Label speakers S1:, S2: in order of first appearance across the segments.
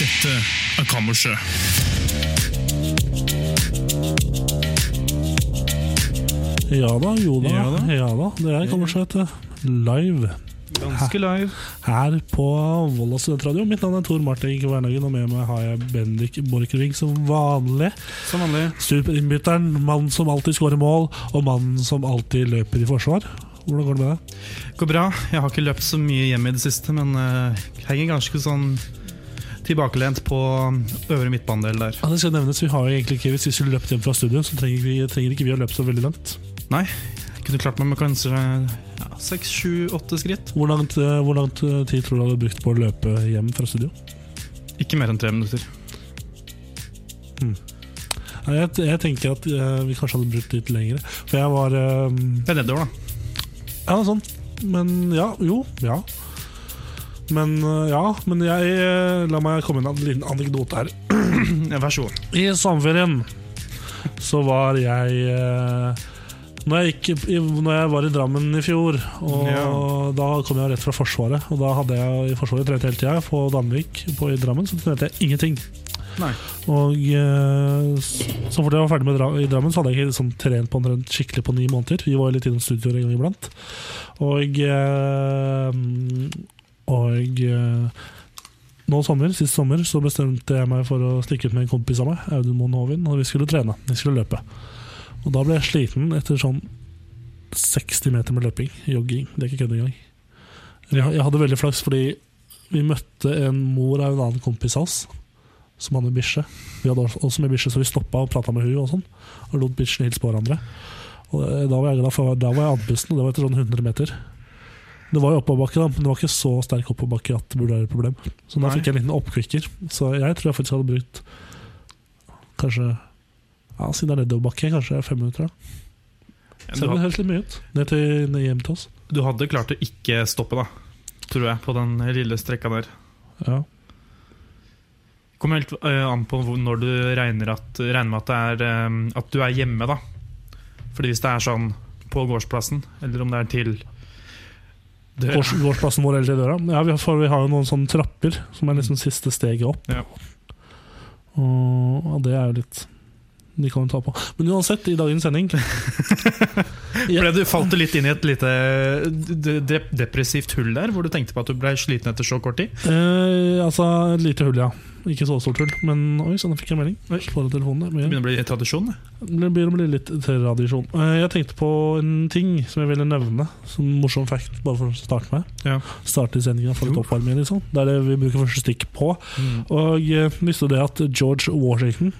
S1: Dette er Kammerset.
S2: Ja da, jo da.
S1: Ja
S2: Ja
S1: da.
S2: da, det er Kammersøt live
S1: Ganske live.
S2: her på Volda studentradio. Mitt navn er Tor Martin Kvernhagen, og med meg har jeg Bendik Borchgrevink som vanlig.
S1: Som vanlig.
S2: Superinnbytteren, mannen som alltid skårer mål, og mannen som alltid løper i forsvar. Hvordan går det med deg?
S1: Går bra. Jeg har ikke løpt så mye hjemme i det siste, men eh, henger ganske sånn tilbakelent på um, øvre midtbanedel der.
S2: Ja, det skal nevnes, vi har jo egentlig ikke, Hvis vi skulle løpt hjem fra studio, så trenger, vi, trenger ikke vi å løpe så veldig langt.
S1: Nei, jeg kunne klart meg med kanskje ja, seks, sju, åtte skritt.
S2: Hvor langt, eh, hvor langt eh, tid tror du du hadde brukt på å løpe hjem fra studio?
S1: Ikke mer enn tre minutter.
S2: Nei, Jeg, jeg tenker at eh, vi kanskje hadde brukt litt lengre. For jeg var eh,
S1: Det er nedover, da.
S2: Ja, sånn. Men ja, jo, ja. Men øh, ja, men jeg øh, La meg komme med en liten anekdote her.
S1: Mm, Ja, vær så god.
S2: I sommerferien så var jeg øh, når jeg, gikk, i- når jeg var i Drammen i fjor, og
S1: Ja.
S2: da kom jeg rett fra Forsvaret. Og da hadde jeg i Forsvaret trent hele tida. På Danvik på, i Drammen så trente jeg ingenting.
S1: Nei.
S2: Og eh, s- så fort jeg var ferdig med dra i Drammen, så hadde jeg ikke liksom trent på omtrent skikkelig på ni måneder. Vi var jo litt innom studioer en gang iblant. Og, eh, og eh, nå sommer, sist sommer så bestemte jeg meg for å stikke ut med en kompis av meg, Audun Moen Hovin, og vi skulle trene. Vi skulle løpe. Og da ble jeg sliten etter sånn 60 meter med løping. Jogging. Det er ikke kødd engang. Jeg, jeg hadde veldig flaks, fordi vi møtte en mor av en annen kompis av oss som hadde bikkje. Vi hadde også- også med bikkje, så vi stoppa og prata med hun og sånn. Og lot bikkjene hilse på hverandre. Og eh, Da var jeg glad for Da var jeg andpusten, og det var etter sånn 100 meter. Det var jo oppoverbakke, da, men det var ikke så sterk oppoverbakke at det burde være et problem. Så da
S1: Nei.
S2: fikk jeg en liten oppkvikker. Så jeg tror jeg faktisk hadde brukt kanskje Ja, siden det er nedoverbakke, kanskje fem minutter. da
S1: Du,
S2: Ser det
S1: had-
S2: høres litt mye ut. Ned til ned hjem til oss.
S1: du hadde klart å ikke stoppe, da. Tror jeg, på den lille strekka der.
S2: Ja.
S1: Kommer helt eh, an på hvor- når du regner, at, regner med at, det er, eh, at du er hjemme, da. Fordi hvis det er sånn på gårdsplassen, eller om det er til det,
S2: Gårds, gårdsplassen vår eller i døra. Ja, vi har, for vi har jo noen sånne trapper som er liksom siste steget opp.
S1: Mm. Ja.
S2: Og ja, det er jo litt De kan jo ta på. Men uansett, i dagens sending
S1: ble du falt du litt inn i et lite d- dep depressivt hull der, hvor du tenkte på at du ble sliten etter så kort tid?
S2: eh, Altså, et lite hull, ja. Ikke så stort hull, men oi sann, jeg fikk en melding. Svarer
S1: Det
S2: telefonen. Det blir-
S1: begynner å bli tradisjon. det.
S2: Det begynner å bli litt tradisjon. Eh, Jeg tenkte på en ting som jeg ville nevne, som en morsom fact, bare for å starte med.
S1: Ja.
S2: Starte sendinga for litt
S1: Jo.
S2: oppvarming, liksom. Det er det vi bruker første stikk på. Og eh, visste du det at George Washington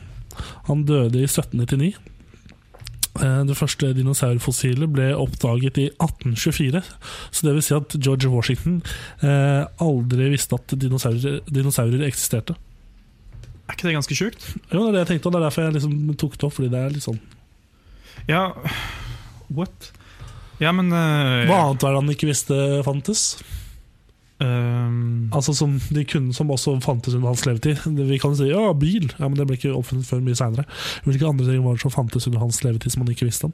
S2: Han døde i 1799. Eh, Det første dinosaurfossilet ble oppdaget i 1824. Så det vil si at George Washington eh, aldri visste at dinosaurer, dinosaurer eksisterte.
S1: Er ikke det ganske sjukt?
S2: Jo, det er det jeg tenkte, og det er derfor jeg liksom tok det opp. Fordi det er litt sånn
S1: Ja What? Ja, men eh,
S2: Hva annet var det han ikke visste fantes?
S1: eh,
S2: Altså som de kunne som også fantes under hans levetid. Det- Vi kan si ja, bil, ja, men det ble ikke oppfunnet før mye seinere. Hvilke andre ting var det som fantes under hans levetid som han ikke visste om?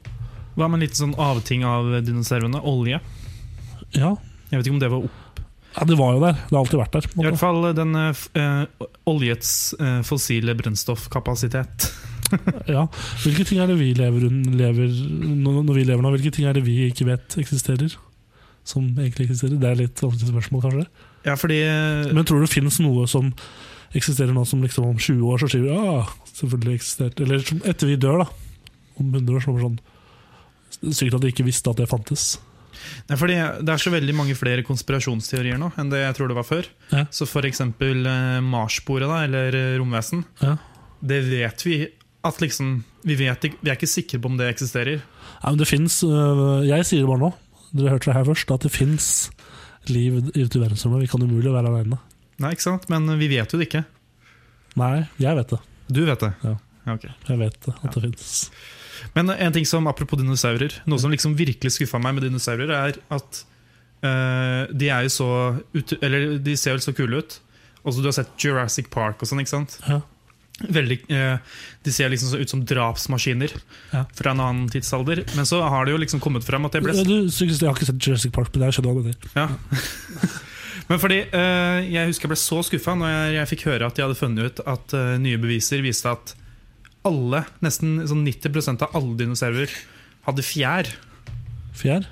S1: Hva med en liten sånn avting av dinosaurene? Olje?
S2: Ja,
S1: Jeg vet ikke om det var opp
S2: Ja, det var jo der. Det har alltid vært der. på en
S1: I hvert
S2: måte.
S1: fall den eh, f- eh, oljets eh, fossile brennstoffkapasitet.
S2: Ja. Hvilke ting er det vi lever, un- lever når når vi lever nå? Hvilke ting er det vi ikke vet eksisterer? Som egentlig eksisterer? Det er litt vanskelig spørsmål, kanskje.
S1: Ja, fordi eh,
S2: Men tror du det finnes noe som eksisterer nå, som liksom om 20 år så sier vi ja, selvfølgelig eksisterte Eller som etter vi dør, da. Om 100 år, så blir det sånn Sykt at de ikke visste at det fantes.
S1: nei, fordi det er så veldig mange flere konspirasjonsteorier nå enn det jeg tror det var før.
S2: Ja.
S1: Så for eksempel eh, Marsboere, da, eller eh, romvesen,
S2: Ja.
S1: det vet vi at liksom vi, vet, ikke- vi er ikke sikre på om det eksisterer.
S2: Nei, men det finnes øh, Jeg sier det bare nå, dere hørte det her først, at det fins liv ute i verdensrommet. Vi kan umulig være aleine.
S1: Nei, ikke sant? Men eh, vi vet jo det ikke.
S2: Nei, jeg vet det.
S1: Du vet det.
S2: Ja.
S1: ok.
S2: Jeg vet det, at det fins.
S1: Men en ting som, apropos dinosaurer Noe som liksom virkelig skuffa meg med dinosaurer, er at eh, de er jo så ut, Eller de ser jo så kule ut. Også, du har sett Jurassic Park og sånn, ikke sant?
S2: Ja.
S1: Veldig, eh, de ser liksom så ut som drapsmaskiner
S2: Ja.
S1: fra en annen tidsalder. Men så har det jo liksom kommet fram at det ble
S2: Du, så- jeg har ikke sett Jurassic Park, men jeg skjønner hva du mener.
S1: Ja. Men fordi eh, Jeg husker jeg ble så skuffa når jeg, jeg fikk høre at de hadde funnet ut at eh, nye beviser viste at alle, nesten sånn 90 av alle dinosaurer hadde fjær.
S2: Fjær?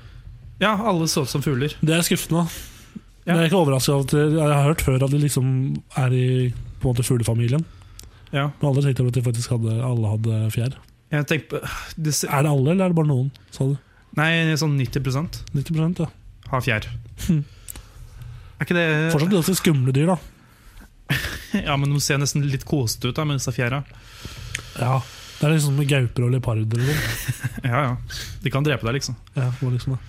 S1: Ja, alle så ut som fugler.
S2: Det er skuffende.
S1: Ja.
S2: Jeg er ikke overraska over at det- Jeg har hørt før at de liksom er i på en måte fuglefamilien.
S1: Ja.
S2: Men aldri tenkte jeg at de faktisk hadde, alle hadde fjær.
S1: Jeg tenkte på, det ser-
S2: Er det alle, eller er det bare noen? Sa du?
S1: Nei, sånn 90
S2: 90 ja.
S1: har fjær.
S2: Hm.
S1: Er ikke det
S2: Fortsatt ganske skumle dyr, da.
S1: Ja, men De ser nesten litt kåste ut da, med disse fjæra.
S2: Ja. Det er liksom gauper og leoparder og sånn.
S1: Ja, ja. De kan drepe deg, liksom.
S2: Ja, det var liksom det.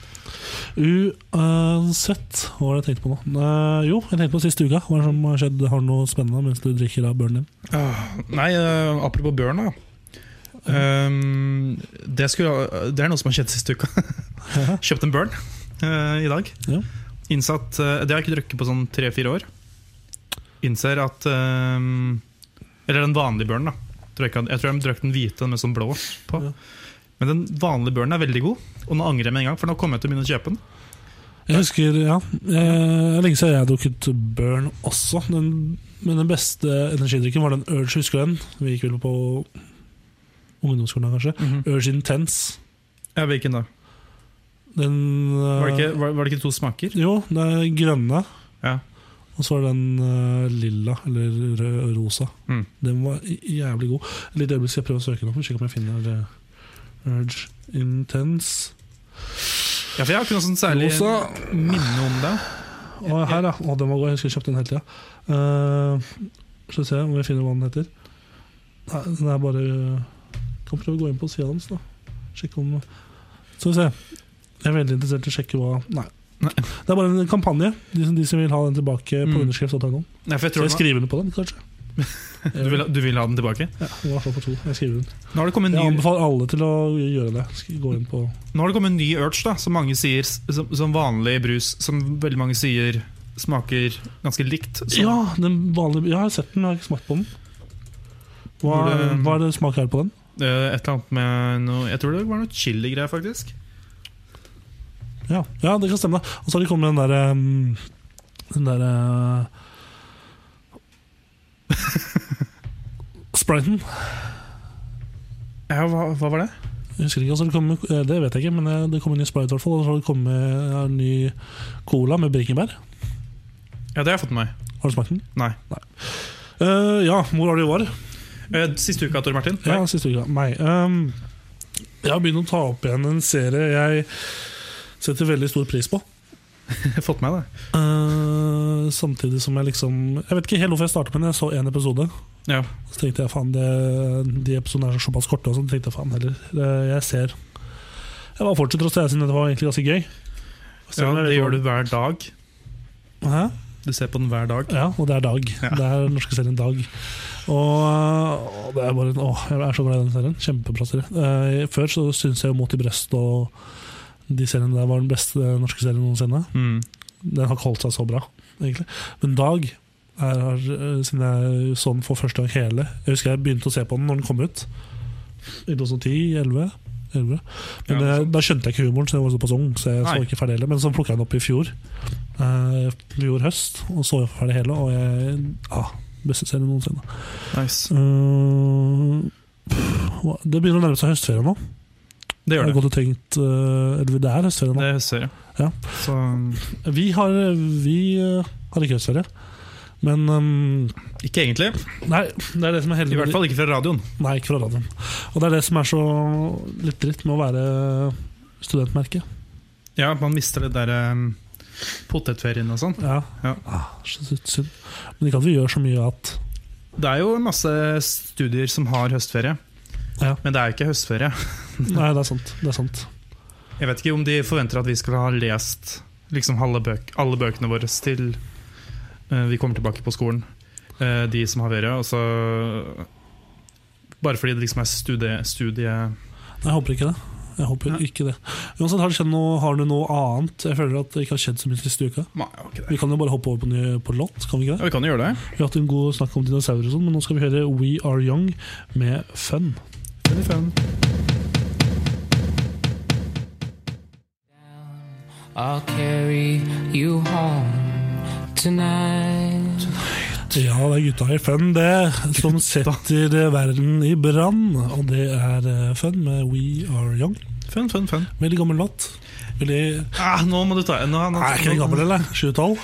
S2: Uansett, hva var det jeg tenkte på nå? Eh, jo, jeg tenkte på sist uka. Hva er det som har skjedd? Har du noe spennende mens du drikker av børen din?
S1: Ah, Nei, eh, apropos bjørn, da. Ehm, det, skulle, det er noe som har skjedd siste uka. Kjøpt en bjørn eh, i dag.
S2: Ja.
S1: Innsatt eh, Det har jeg ikke drukket på sånn tre-fire år. Innser at ehm, Eller den vanlige bjørnen, da. Tror jeg ikke- Jeg tror jeg drakk den hvite med sånn blå på.
S2: Ja.
S1: Men den vanlige bjørnen er veldig god, og nå angrer jeg med en gang. For nå kommer jeg til å begynne å kjøpe den.
S2: Jeg husker, ja eh, Lenge siden jeg har drukket Burn også. Den, men den beste energidrikken var den Urge, husker du den? Vi gikk vel på ungdomsskolen da, kanskje. Urge Intense.
S1: Ja, Hvilken da?
S2: Den eh,
S1: Var det, ikke, var, var det ikke to smaker?
S2: Jo, den er grønne.
S1: Ja.
S2: Og så er den eh, lilla, eller rød og rosa.
S1: Mm.
S2: Den var i- jævlig god. Litt øyeblikk skal jeg prøve å søke den opp. og Sjekke om jeg finner eh, Urge Intense.
S1: Ja, for Jeg har ikke noe sånn særlig
S2: Rosa.
S1: minne om det.
S2: Og her, ja. Å, den var god. Jeg husker jeg kjøpte den hele tida. skal vi se om vi finner hva den heter. Nei, den er bare eh, Kan prøve å gå inn på sida hans, da. Sjekke om Skal vi se. Jeg er veldig interessert i å sjekke hva Nei.
S1: Nei.
S2: Det er bare en kampanje. De som, de som vil ha den tilbake på
S1: Mm.
S2: underskrift.no.
S1: Nei, for jeg
S2: Skal
S1: tror
S2: jeg
S1: den,
S2: skrive under på den, kanskje?
S1: du, vil, ha- du vil ha den tilbake?
S2: Ja, i hvert fall på to. Jeg skriver den.
S1: Nå har det kommet en
S2: Jeg
S1: ny
S2: anbefaler alle til å gjøre det. Sk- Gå inn på
S1: Nå har det kommet en ny urge, da, som mange sier som, som vanlig brus. Som veldig mange sier smaker ganske likt. Så,
S2: Ja, den vanlige Ja, jeg har sett den, jeg har ikke smakt på den. Hva,
S1: Burde-
S2: hva er det smak her på den?
S1: eh, et eller annet med noe Jeg tror det var noe chiligreier, faktisk.
S2: Ja, ja det kan stemme. det. Og så har de kommet med den derre um, Den derre uh, Spriten.
S1: Ja, hva, hva var det?
S2: Jeg husker ikke, altså det, kom, eh, det vet jeg ikke, men eh, det kom en ny Sprite i hvert fall. Og så har det kommet ja, en ny cola med bringebær.
S1: Ja, Det har jeg fått med meg.
S2: Har du smakt den?
S1: Nei.
S2: Eh, ja, hvor var det vi var?
S1: Eh, siste uka, Tor Martin.
S2: Ja, siste uka. Meg. Ehm, jeg har begynt å ta opp igjen en serie jeg setter veldig stor pris på.
S1: Jeg har fått med det.
S2: Eh, samtidig som jeg liksom Jeg vet ikke helt hvorfor jeg startet med den, jeg så én episode.
S1: Ja.
S2: Så tenkte jeg, faen, det, de episodene er såpass korte, og sånn, så tenkte jeg, faen heller, eh, jeg ser Jeg bare fortsetter å se, siden det var egentlig ganske gøy.
S1: Ja, det gjør du hver dag.
S2: sånn, Hæ?
S1: Du ser på den hver dag.
S2: Ja, og det er Dag. Det er den norske serien Dag. Og, eh, og det er bare en- Åh, jeg er så glad i den serien. Kjempebra serie. Eh, før så syntes jeg jo Mot i brøst og de seriene der var den beste norske serien noensinne.
S1: Mm.
S2: Den har ikke holdt seg så bra, egentlig. Men Dag er, har, eh, siden jeg så den for første gang hele Jeg husker jeg begynte å se på den når den kom ut. I 2010-2011.
S1: Ja,
S2: Men
S1: det er
S2: eh,
S1: sant.
S2: da skjønte jeg ikke humoren, så jeg var såpass ung. Så jeg
S1: Nei.
S2: så ikke ferdig heller Men så plukka jeg den opp i fjor eh, Fjor høst, og så ferdig hele. Og jeg ah, Beste serien noensinne.
S1: Nice.
S2: Eh, pff, hva- det begynner å nærme seg høstferie nå.
S1: Det
S2: Jeg
S1: gjør
S2: har
S1: det.
S2: gått og tenkt eh, Eller det er høstferie nå.
S1: Det ser jeg.
S2: Ja.
S1: Så
S2: Vi har, vi, eh, har ikke høstferie. Men ehm,
S1: ikke egentlig.
S2: Nei, det er det som er
S1: I
S2: heldig
S1: hvert fall ikke fra radioen.
S2: Nei, ikke fra radioen. Og det er det som er så litt dritt med å være studentmerke.
S1: Ja, Man mister det der um, potetferien og sånn.
S2: Ja.
S1: Ja.
S2: Ah, så synd- synd. Men ikke at vi gjør så mye at
S1: Det er jo masse studier som har høstferie,
S2: Ja.
S1: men det er jo ikke høstferie.
S2: Nei, det er sant. Det er sant.
S1: Jeg vet ikke om de forventer at vi skal ha lest liksom halve bøk, alle bøkene våre til eh, vi kommer tilbake på skolen. Eh, de som har ferie. Og så Bare fordi det liksom er studie... studie
S2: Jeg håper ikke det. Jeg håper
S1: Nei.
S2: ikke det. Uansett, har, det skjedd noe, har du noe annet? Jeg føler at det ikke har skjedd så mye siste uka.
S1: Nei, det var ikke det.
S2: Vi kan jo bare hoppe over på, ny, på låt, kan vi ikke det?
S1: Ja, vi kan jo gjøre det.
S2: Vi har hatt en god snakk om dinosaurer og sånn, men nå skal vi høre We Are Young med Fun.
S1: Veldig fun.
S3: I'll carry you home tonight.
S2: Ja, det er gutta i Fun, det, som setter eh, verden i brann. Og det er eh, Fun med We Are Young.
S1: Fun, fun, fun.
S2: Veldig gammel låt. Veldig
S1: Ah, nå må du ta nå, nå,
S2: Nei, ikke den gammel, eller? 7-12?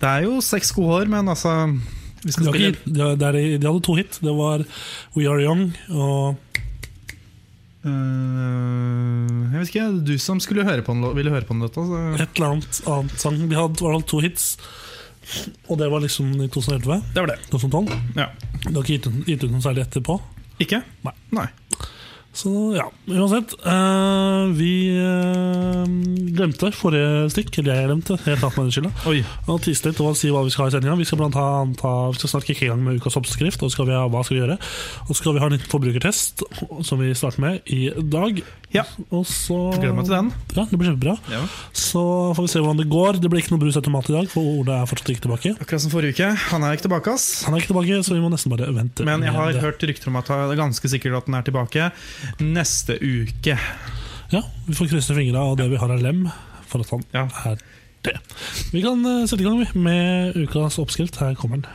S1: Det er jo seks gode år, men altså Vi
S2: De,
S1: skal
S2: har
S1: spille
S2: ikke- de, har- det er de, de hadde to hit. Det var We Are Young og
S1: Eh, Jeg vet ikke, du som skulle høre på en lå- ville høre på en låt. Altså.
S2: et eller annet annet sang. De hadde i hvert fall to hits, og det var liksom i 2011.
S1: Det var det.
S2: 2012.
S1: Ja.
S2: Det har ikke gitt ut- gitt ut noe særlig etterpå.
S1: Ikke?
S2: Nei.
S1: Nei.
S2: Så ja, uansett. eh, vi eh, glemte forrige stikk, eller jeg glemte, jeg tar på meg den skylda,
S1: Oi.
S2: å tise litt og si hva vi skal ha i sendinga. Vi skal blant annet ha- vi skal snart kicke i gang med ukas oppskrift, og skal vi ha, hva skal vi gjøre? Og så skal vi ha en liten forbrukertest, som vi starter med i dag.
S1: Ja.
S2: Og så
S1: Gleder meg til den.
S2: Ja, det blir kjempebra.
S1: Ja.
S2: Så får vi se hvordan det går. Det blir ikke noe brus etter mat i dag, for Ole er fortsatt ikke tilbake.
S1: Akkurat som forrige uke. Han er ikke tilbake, ass.
S2: Han er ikke tilbake, så vi må nesten bare vente.
S1: Men jeg
S2: med
S1: har
S2: det.
S1: hørt rykter om at han- det er ganske sikkert at den er tilbake neste uke.
S2: Ja, Vi får krysse fingra og det vi har av lem, for at han
S1: Ja.
S2: er det. Vi kan eh, sette i gang vi, med ukas oppskrift. Her kommer den.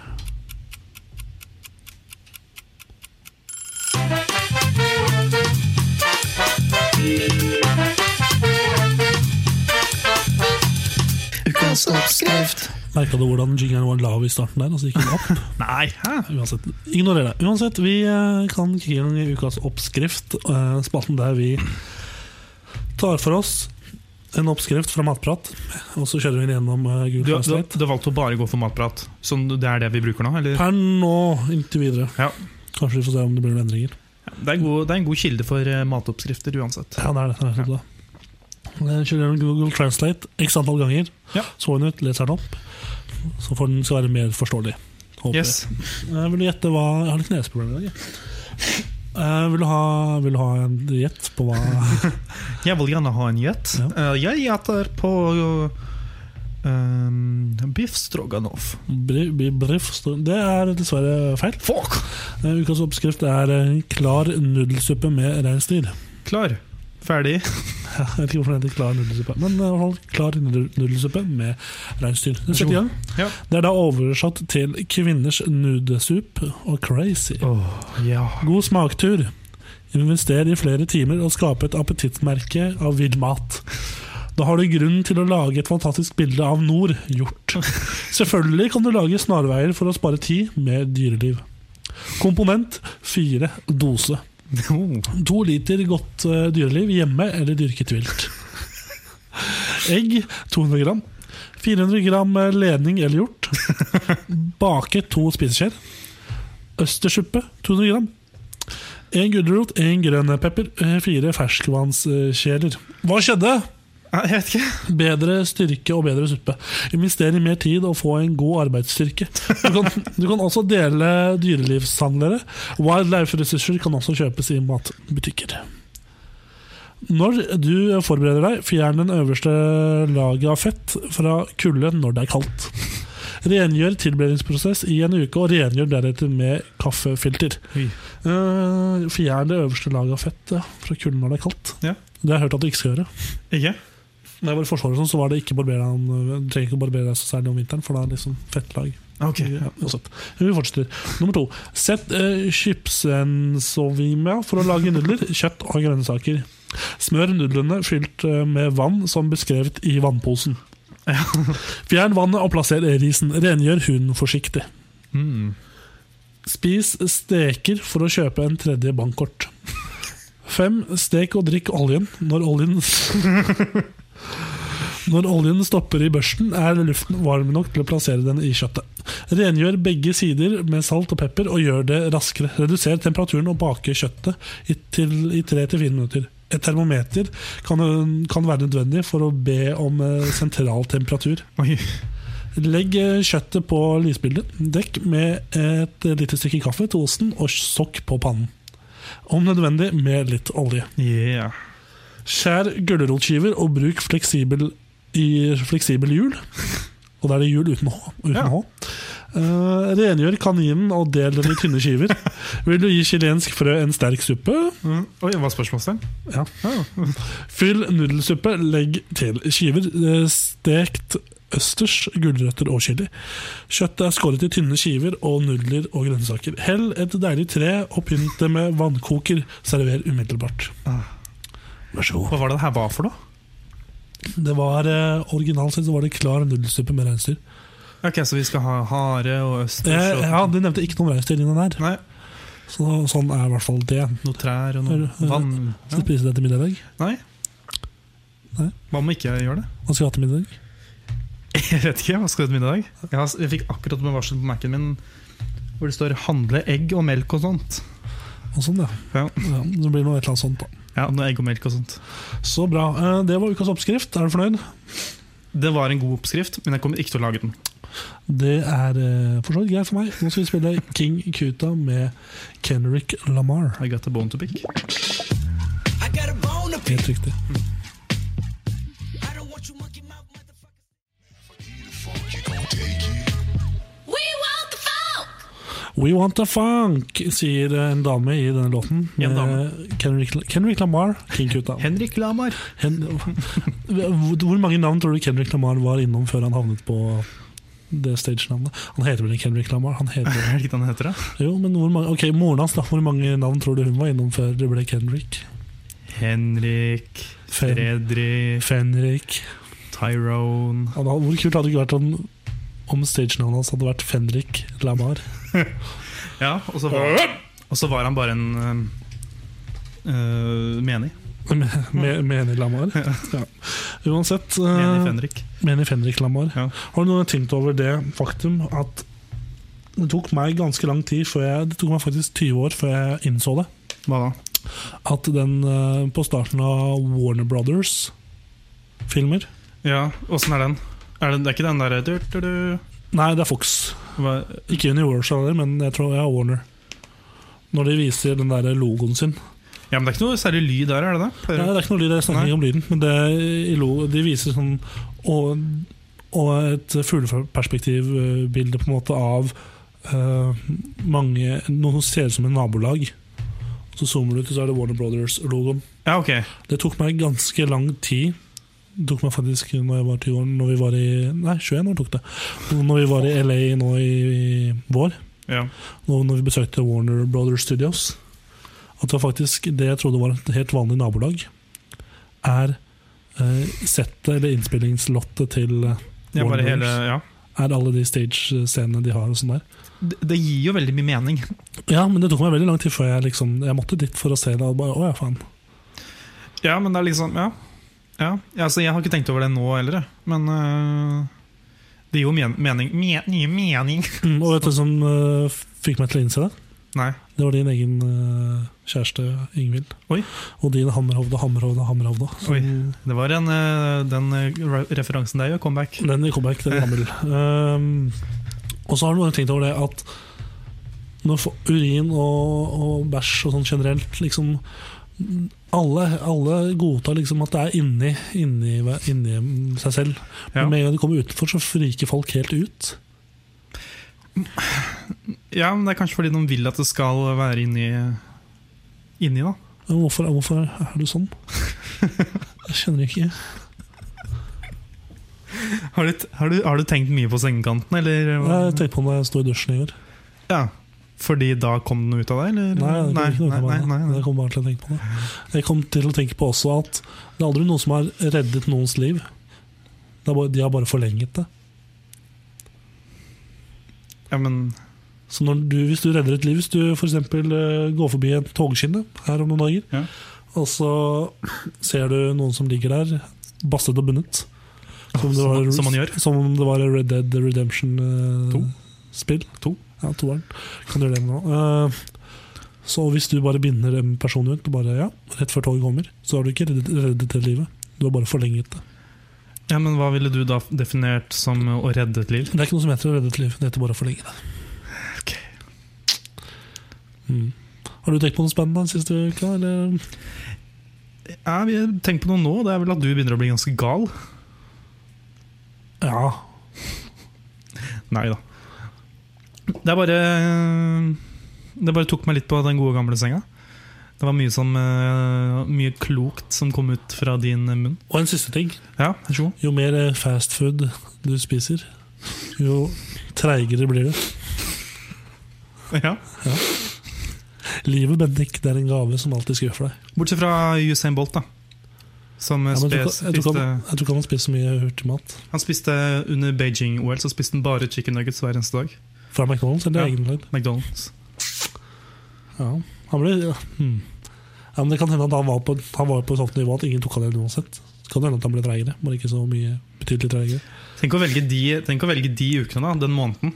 S1: Ukas oppskrift.
S2: Merka du hvordan jingeren var lav i starten der? Altså gikk den opp?
S1: Nei, hæ?
S2: Uansett, ignorer det. Uansett, vi eh, kan kicke i gang i ukas oppskrift. eh, Spalten der vi tar for oss en oppskrift fra Matprat, og så kjører vi den gjennom eh,
S1: Du,
S2: Google
S1: du,
S2: Translate.
S1: du valgte å bare gå for matprat. Så det er det vi bruker nå? Eller?
S2: Per nå, inntil videre.
S1: Ja.
S2: Kanskje vi får se om det blir noen endringer.
S1: Det, er god, det er en god kilde for eh, matoppskrifter uansett.
S2: Ja, det er det. det, er det. Eh, Kjører gjennom Google Translate x antall ganger.
S1: Ja.
S2: Så den ut, leser den opp. Så får den skal være mer forståelig. Håper jeg.
S1: Yes.
S2: Eh, Vil du gjette hva Jeg har litt neseproblemer i dag. jeg. Eh, vil, du ha, vil du ha en gjett på hva
S1: Jeg vil gjerne ha en gjett. Eh, Jeg gjetter på um, biff stroganoff.
S2: bri- bri- briff står- Det er dessverre feil.
S1: Fuck!
S2: Eh, Ukas oppskrift er eh, klar nudelsuppe med reinsdyr.
S1: Klar, ferdig.
S2: Jeg vet ikke hvorfor det heter klar nudelsuppe, men eh, i hvert fall klar nudel- nudelsuppe med reinsdyr. Den setter i gang.
S1: Ja.
S2: Det er da oversatt til kvinners nudesup og crazy.
S1: ja.
S2: God smaktur. Invester i flere timer og skape et appetittmerke av vill mat. Da har du grunn til å lage et fantastisk bilde av nord gjort. Selvfølgelig kan du lage snarveier for å spare tid med dyreliv. Komponent fire dose. To liter godt eh, dyreliv hjemme eller dyrket vilt. Egg 200 gram. 400 gram eh, ledning eller hjort. Bake to spiseskjeer. Østerssuppe 200 gram. Én gulrot, én grønn pepper, eh, fire ferskvannskjeler. Hva skjedde?
S1: Ah, Jeg vet ikke.
S2: Bedre styrke og bedre suppe. Invester i mer tid og få en god arbeidsstyrke. Du kan, du kan også dele dyrelivshandlere. Wildlife-ressurser kan også kjøpes i matbutikker. Når du forbereder deg, fjern den øverste laget av fett fra kullet når det er kaldt. Rengjør tilberedningsprosess i en uke, og rengjør deretter med kaffefilter.
S1: Oi.
S2: Eh, fjern det øverste laget av fett ja, fra kullet når det er kaldt.
S1: Ja.
S2: Det har jeg hørt at du ikke skal gjøre.
S1: Ikke?
S2: Når jeg var i Forsvaret, og sånn, så var det ikke barbera om, du trenger ikke å barbere deg så særlig om vinteren, for da er det liksom fettlag.
S1: Ok.
S2: Ja, uansett. Vi fortsetter. Nummer to. Sett uh, chipsensovimia for å lage nudler, kjøtt og grønnsaker. Smør nudlene fylt eh, med vann som beskrevet i vannposen. Fjern vannet og plasser risen. Rengjør huden forsiktig.
S1: Mm.
S2: Spis steker for å kjøpe en tredje bankkort. Fem, stek og drikk oljen. Når oljen Når oljen stopper i børsten, er luften varm nok til å plassere den i kjøttet. Rengjør begge sider med salt og pepper og gjør det raskere. Reduser temperaturen og bake kjøttet i, til, i 3-4 minutter. et termometer kan, kan være nødvendig for å be om eh, sentral temperatur.
S1: Oi.
S2: Legg eh, kjøttet på lysbildet. Dekk med et eh, lite stykke kaffe til osten og sokk på pannen. Om nødvendig med litt olje.
S1: Yeah.
S2: Skjær gulrotskiver og bruk fleksibel, i, fleksibel hjul. Og da er det hjul uten H. Uten
S1: Ja.
S2: H. Eh, rengjør kaninen og del den i tynne skiver. Vil du gi chilensk frø en sterk suppe?
S1: Mm. Oi, hva er spørsmålstegn?
S2: Ja. Fyll nudelsuppe, legg til skiver. eh, Stekt østers, gulrøtter og chili. Kjøttet er skåret i tynne skiver og nudler og grønnsaker. Hell et deilig tre og pynt det med vannkoker. Server umiddelbart. Ah, Vær så god.
S1: Hva var det det her var for noe?
S2: Det var eh, Originalt sett så var det klar nudelsuppe med reinsdyr.
S1: Ok, Så vi skal ha hare og østers
S2: Eh,
S1: og
S2: ja, de nevnte ikke noen reinsdyr inni den her.
S1: Nei,
S2: Så, sånn er i hvert fall det.
S1: noe trær og noe vann
S2: Skal
S1: ja.
S2: du spise det til middag i dag?
S1: Nei.
S2: Nei.
S1: Hva om ikke jeg gjør det?
S2: Hva skal vi ha til middag?
S1: Jeg vet ikke. Hva skal jeg gjøre til middag? Jeg, har, jeg fikk akkurat med varsel på Mac-en min hvor det står 'handle egg og melk' og sånt.
S2: Og sånn, ja.
S1: Ja.
S2: ja det blir noe et eller annet sånt, da.
S1: Ja, noe egg og melk og sånt.
S2: Så bra. Eh, det var ukas oppskrift. Er du fornøyd?
S1: Det var en god oppskrift, men jeg kommer ikke til å lage den.
S2: Det er eh, for så vidt greit for meg. Nå skal vi spille King Kuta med Kendrick Lamar.
S1: I got a bone to pick.
S4: I got a bone to pick.
S2: Helt riktig.
S4: I don't want you monkey mouth motherfucker.
S5: We want the folk!
S2: We want a funk, sier eh, en dame i denne låten.
S1: En
S2: Med
S1: dame.
S2: Kendrick, Kendrick Lamar, King Kuta.
S1: Henrik Lamar.
S2: Hen hvor hvor mange navn tror du Kendrick Lamar var innom før han havnet på det stagenavnet? Han heter vel ikke Kendrick Lamar? Han heter,
S1: Er det ikke det han heter? da?
S2: jo, men hvor mange, ok, Moren hans, da. Hvor mange navn tror du hun var innom før det ble Kendrick?
S1: Henrik,
S2: Fen-
S1: Fredrik,
S2: Fenrik.
S1: Tyrone
S2: Ja, da- Hvor kult hadde det ikke vært om, om stagenavnet hans hadde vært Fenrik Lamar?
S1: Ja, og så var, og så var han bare en øh, menig.
S2: Med, med, Menig Lamar? Ja. Uansett. eh,
S1: Menig Fenrik.
S2: Menig Fenrik Lamar.
S1: Ja.
S2: Har du noen tenkt over det faktum at det tok meg ganske lang tid før jeg, Det tok meg faktisk 20 år før jeg innså det.
S1: Hva da?
S2: At den eh, på starten av Warner Brothers-filmer
S1: Ja, åssen er den? Er det, det er ikke den derre du, du, du.
S2: Nei, det er Fox.
S1: Hva,
S2: Ikke Universal, heller, men jeg tror jeg er Warner. Når de viser den der logoen sin.
S1: Ja, men det er ikke noe særlig lyd der, er det det?
S2: Nei,
S1: Pleier-
S2: det er ikke noe lyd, jeg snakker
S1: Nei.
S2: ikke om lyden. Men det, er i logo, de viser sånn og, og et fugleperspektivbilde på en måte av eh, mange Noen som ser ut som en nabolag. Så zoomer du ut, og så er det Warner Brothers-logoen.
S1: Ja, ok.
S2: Det tok meg ganske lang tid. Det tok meg faktisk når jeg var 20 år Når vi var i Nei, 21 år tok det. Når vi var i LA nå i, i vår
S1: Ja.
S2: nå når vi besøkte Warner Brothers Studios, at det var faktisk det jeg trodde var et helt vanlig nabolag, er eh, settet eller innspillingslottet til eh,
S1: Jeg
S2: Warner
S1: bare hele,
S2: Brothers.
S1: ja.
S2: Er alle de stage-scenene de har og sånn der.
S1: Det, det gir jo veldig mye mening.
S2: Ja, men det tok meg veldig lang tid før jeg liksom Jeg måtte dit for å se det. Og bare, å ja, faen.
S1: Ja, men det er liksom Ja. ja. Altså, jeg har ikke tenkt over det nå heller, jeg. men øh, det gir jo men mening. Me nye mening.
S2: Mm, og vet du som eh, fikk meg til å innse det?
S1: Nei.
S2: Det var din egen eh, kjæreste Ingvild.
S1: Oi.
S2: Og din Hammerhovda, Hammerhovda, Hammerhovda.
S1: Oi. Det var en, øh, den øh, re- referansen der, jo. Comeback.
S2: Den kommer ikke, den er gammel. Ehm, og så har du bare tenkt over det at når for- urin og, og bæsj og sånn generelt liksom alle, alle godtar liksom at det er inni, inni, hver- inni seg selv.
S1: Ja.
S2: Men med en gang de kommer utenfor, så friker folk helt ut.
S1: Ja, men det er kanskje fordi de vil at det skal være inni Inni, da.
S2: Men hvorfor, hvorfor er du sånn? Jeg skjønner ikke.
S1: Har du, t- har, du, har du tenkt mye på sengekanten, eller? hva?
S2: Jeg tenkte på det når jeg sto i dusjen i går.
S1: Ja. Fordi da kom den ut av deg, eller?
S2: Nei, det
S1: nei,
S2: kom ikke noe til
S1: nei,
S2: meg.
S1: nei, nei.
S2: Jeg kom bare til å tenke på det. Jeg kom til å tenke på også at det er aldri noen som har reddet noens liv. Det er bare, de har bare forlenget det.
S1: Ja, men
S2: Så når du, hvis du redder et liv, hvis du f.eks. går forbi en togskinne her om noen dager,
S1: Ja.
S2: og så ser du noen som ligger der, bastet og bundet Som, det
S1: Som- som man gjør.
S2: Som om det var en Red Dead Redemption eh,
S1: To.
S2: 2-spill.
S1: To.
S2: Ja, toeren. Kan du gjøre det med nå? Eh, Så hvis du bare binder en person ut, og bare, ja, rett før toget kommer, så har du ikke reddet, reddet det livet. Du har bare forlenget det.
S1: Ja, men Hva ville du da definert som å redde et liv?
S2: Det er ikke noe som heter å redde et liv, det heter bare å forlenge det.
S1: Ok.
S2: Mm. Har du tenkt på noe spennende den siste uka? Eller?
S1: Ja, vi Tenk på noe nå. Det er vel at du begynner å bli ganske gal.
S2: Ja.
S1: Nei da. Det er bare Det bare tok meg litt på den gode, gamle senga. Det var mye, som, eh, mye klokt som kom ut fra din munn.
S2: Og en siste ting.
S1: Ja, vær så god.
S2: Jo mer eh, fast food du spiser, jo treigere blir du.
S1: Ja.
S2: Livet, Bendik, det er en gave som alltid skuffer deg.
S1: Bortsett fra Usain Bolt, da. Som eh,
S2: Ja, men jeg, tror,
S1: spes,
S2: ikke- jeg, tror ikke han,
S1: spiste,
S2: jeg tror ikke han spiser så mye hurtigmat
S1: han spiste under Beijing-OL, så spiste han bare chicken nuggets hver eneste dag.
S2: fra McDonald's eller
S1: Ja.
S2: egenlagd.
S1: McDonald's.
S2: Ja. Han ble, ja. Hmm. ja, men det kan hende at han var på, han var på et sånt nivå at ingen tok han igjen uansett. Så kan det hende at han ble treigere, bare ikke så mye betydelig treigere.
S1: Tenk å velge de, tenk å velge de ukene, da. Den måneden.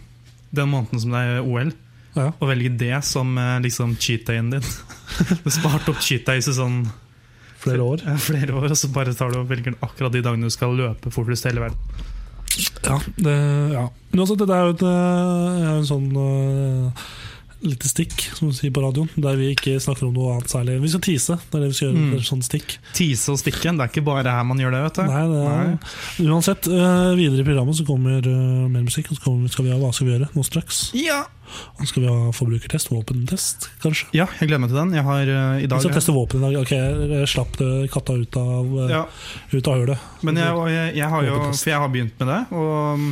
S1: Den måneden som det er OL.
S2: Ja.
S1: Å velge det som eh, liksom cheat dayen din. Du sparte opp cheat days i sånn
S2: Flere år.
S1: Ja, flere år, og så bare tar du og velger akkurat de dagene du skal løpe fortest i hele verden.
S2: Ja, det, ja. Men også, dette er jo et, øh, er jo en sånn øh, lite stikk, som du sier på radioen, der vi ikke snakker om noe annet særlig. Vi skal tease, det er det vi skal gjøre.
S1: Mm.
S2: Det er sånn stikk.
S1: Tise og stikke, det er ikke bare her man gjør det. vet du
S2: Nei, det er, Uansett, øh, videre i programmet så kommer øh, mer musikk. Og så kommer, skal vi ha, hva skal vi gjøre nå straks?
S1: Ja.
S2: Og så skal vi ha forbrukertest, våpentest, kanskje.
S1: ja, jeg gleder meg til den. Jeg har eh, i
S2: Vi
S1: dag
S2: skal teste våpen i dag. Ok, jeg slapp det katta ut av, øh,
S1: ja,
S2: ut av hølet.
S1: Men jeg, og jeg, jeg har jo
S2: Våpentest.
S1: For jeg har begynt med det. Og mm,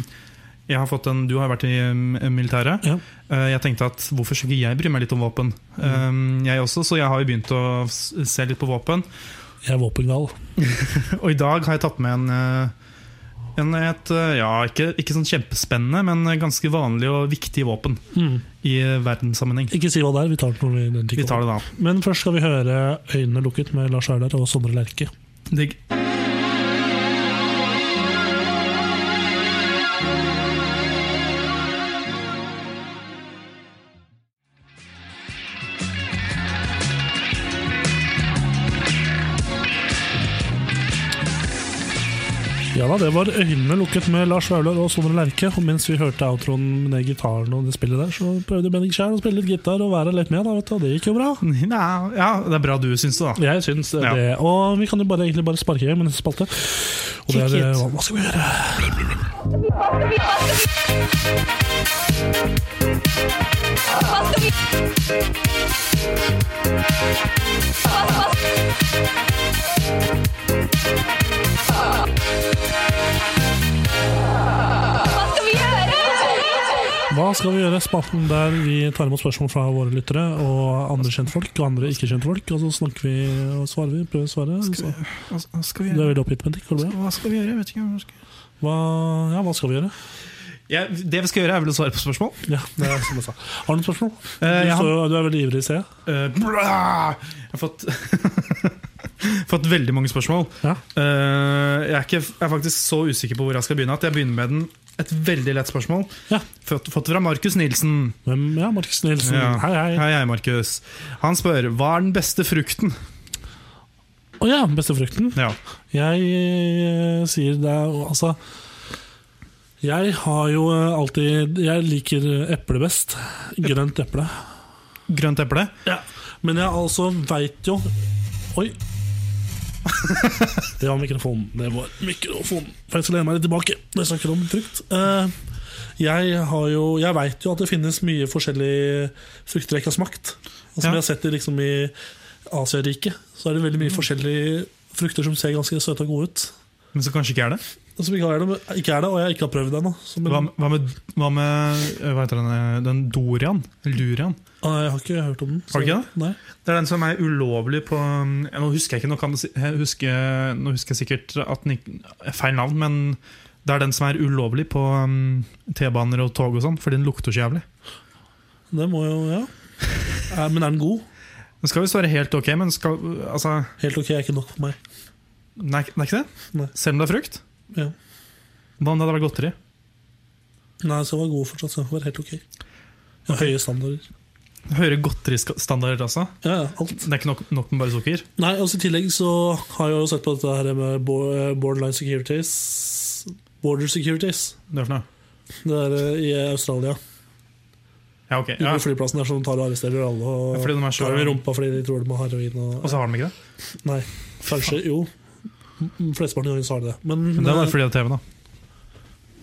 S1: jeg har fått en, du har vært i mm, militæret.
S2: Ja.
S1: Eh, Jeg tenkte at hvorfor skal ikke jeg bry meg litt om våpen?
S2: Mm.
S1: Eh, Jeg også, så jeg har jo begynt å s- se litt på våpen.
S2: Jeg er våpengal.
S1: Og i dag har jeg tatt med en, eh, en et, eh, ja, ikke, ikke sånn kjempespennende, men ganske vanlig og viktig våpen i eh, verdenssammenheng.
S2: Ikke si hva det er, vi tar det når vi den tid
S1: Vi tar det da.
S2: kommer. Men først skal vi høre 'Øynene lukket' med Lars Aular og Sondre Lerche.
S1: Digg.
S2: Ja da, det var øynene lukket med Lars Vaular og Sondre Lerche. Og mens vi hørte outroen med den gitaren og det spillet der, så prøvde Bendik Kjær å spille litt gitar og være litt med, da, vet du. Og det gikk jo bra.
S1: Ja, ja, det er bra du syns det, da.
S2: Jeg syns
S1: Ja.
S2: det. Og vi kan jo bare, egentlig bare sparke i gang med neste spalte. Og det er eh,
S1: Kick it.
S2: hva, hva skal vi gjøre? Hva skal vi gjøre? Spalten der vi tar imot spørsmål fra våre lyttere og andre kjentfolk og andre ikke-kjentfolk. Og så snakker vi og svarer vi. Prøver å svare. Så.
S1: Hva hva skal vi
S2: Du er
S1: gjøre?
S2: veldig oppgitt, Bendik. Går det bra?
S1: Hva skal vi gjøre? Jeg vet ikke. hva vi skal-
S2: Hva, ja, hva skal vi gjøre?
S1: Ja, det vi skal gjøre, er vel å svare på spørsmål.
S2: Ja, det er som jeg sa. Har du noen spørsmål? Du,
S1: Eh, jeg har-
S2: står, jo- du er veldig ivrig, ser jeg.
S1: Eh, bra! jeg har fått Fått veldig mange spørsmål.
S2: Ja.
S1: Eh, jeg, er ikke, jeg er faktisk så usikker på hvor jeg skal begynne at jeg begynner med den et veldig lett spørsmål.
S2: Ja.
S1: Fått, fått fra Markus Nilsen.
S2: Hvem, ja, Markus Nilsen.
S1: Ja.
S2: Hei, hei.
S1: Mm, Hei, hei, Markus. Han spør hva er den beste frukten?
S2: Å ja, bestefrukten.
S1: Ja.
S2: Jeg eh, sier det er Altså Jeg har jo eh, alltid Jeg liker eple best. Grønt eple.
S1: Grønt eple?
S2: Men jeg altså veit jo Oi. Det var mikrofonen. Det var mikrofonen. For jeg skal lene meg litt tilbake når jeg snakker om frukt. Eh, Jeg, har jo, jeg veit jo at det finnes mye forskjellige frukter jeg ikke har smakt. Og
S1: Ja.
S2: som
S1: Mm.
S2: jeg har sett i, liksom, i Asiariket, så er det veldig mye forskjellige frukter som ser ganske søte og gode ut.
S1: Men så kanskje ikke er det?
S2: Og Som ikke er det, men- ikke er det, og jeg ikke har prøvd ennå. Så- men-
S1: Hva, hva med, hva med eh, hva heter den, eh, den dorian? Eller Durian?
S2: Ah, Jeg har ikke hørt om den.
S1: Har du ikke det?
S2: Nei.
S1: Det er den som er ulovlig på mm, Nå husker jeg ikke, nå, kan, det si- jeg husker, nå husker jeg sikkert at den ikke Feil navn, men det er den som er ulovlig på mm, T-baner og tog og sånn, fordi den lukter så jævlig.
S2: Det må jo, ja. Eh, Men er den god?
S1: Den skal visst være helt ok, men skal Altså,
S2: Helt ok, er ikke nok for meg.
S1: nei, det er ikke det?
S2: Nei.
S1: Selv om det er frukt?
S2: Ja.
S1: Hva om det hadde vært godteri?
S2: Nei, den skal være god fortsatt. Den skal være helt ok. Ja, høye standarder.
S1: Høyere godteristandarder også.
S2: Ja, ja, alt.
S1: Det er ikke nok, nok med bare sukker.
S2: Nei, altså I tillegg så har jeg jo sett på dette her med bo- eh, borderline securities. Border securities.
S1: Det er for noe.
S2: Det er eh, i Australia.
S1: Ja, ok.
S2: Ja.
S1: Ja.
S2: flyplassen der som tar og arresterer alle og
S1: Ja, fordi de er så-
S2: tar dem i rumpa fordi de tror de har heroin. Og,
S1: Og så har de ikke det.
S2: Nei, kanskje jo. M- Flesteparten av gangene så har de det. Men,
S1: Men det er
S2: eh,
S1: bare fordi det er TV, da.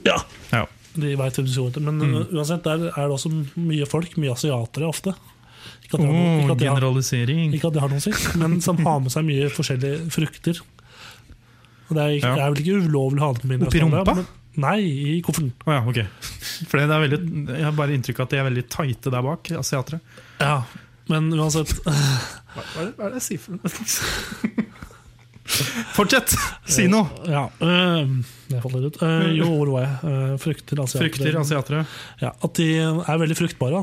S2: ja,
S1: Ja. Mm.
S2: de vet hvem de tror til. Men eh, uansett, der er det også mye folk. Mye asiatere ofte. Ikke at det har noe-
S1: Oh,
S2: ikke at det har-
S1: generalisering.
S2: Ikke at det har noe å si, men som har med seg mye forskjellige frukter. Og det er, ikke,
S1: Ja.
S2: det er vel ikke ulovlig å ha den med inn i
S1: Oppi
S2: Australia,
S1: rumpa?
S2: men- Nei, i kofferten.
S1: Å ja, ok. For det er veldig, jeg har bare inntrykk av at de er veldig tighte der bak, asiatere.
S2: Ja, men uansett
S1: Hva, hva, er det, hva er det jeg sier for noe? Fortsett! Si noe!
S2: ja, øh, Det falt litt ut. Øh, jo, hvor var jeg? Øh, frukter, altså. asiatere.
S1: Frykter asiatere.
S2: Ja, at de er veldig fruktbare. da.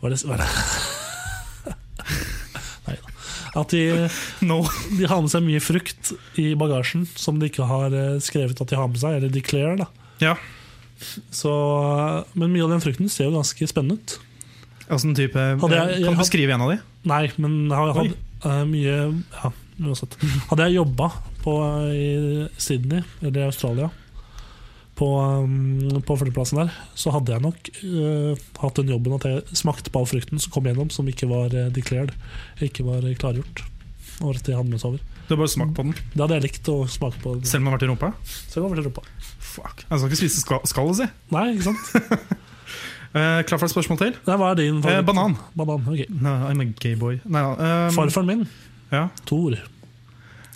S2: Hva er det, hva er det? Nei da. At de,
S1: No.
S2: de har med seg mye frukt i bagasjen som de ikke har eh, skrevet at de har med seg, eller declare. da.
S1: Ja.
S2: Så, eh, men mye av den frukten ser jo ganske spennende ut.
S1: Åssen type
S2: Hadde jeg- jeg
S1: Kan du
S2: had-
S1: beskrive en av de?
S2: Nei, men jeg har
S1: Oi.
S2: hatt eh, mye ja, uansett. Hadde jeg jobba på, eh, i Sydney, eller i Australia, på, um, på flyplassen der, så hadde jeg nok eh, hatt den jobben at jeg smakte på all frukten som kom gjennom, som ikke var eh, declared, ikke var eh, klargjort. Og at de hadde med seg over.
S1: Du har bare smakt på den.
S2: Det hadde jeg likt å smake på.
S1: Selv om den har vært i rumpa?
S2: Selv om jeg var veldig rumpa.
S1: Fuck. Jeg skal ikke spise skal, skallet, si.
S2: Nei, ikke sant?
S1: Eh, klar for et spørsmål til?
S2: Nei, hva er din
S1: Eh,
S2: favoritt?
S1: banan.
S2: Banan, ok.
S1: Nei, I'm a gay boy. Nei, da, ehm,
S2: Farfaren min,
S1: ja.
S2: Thor,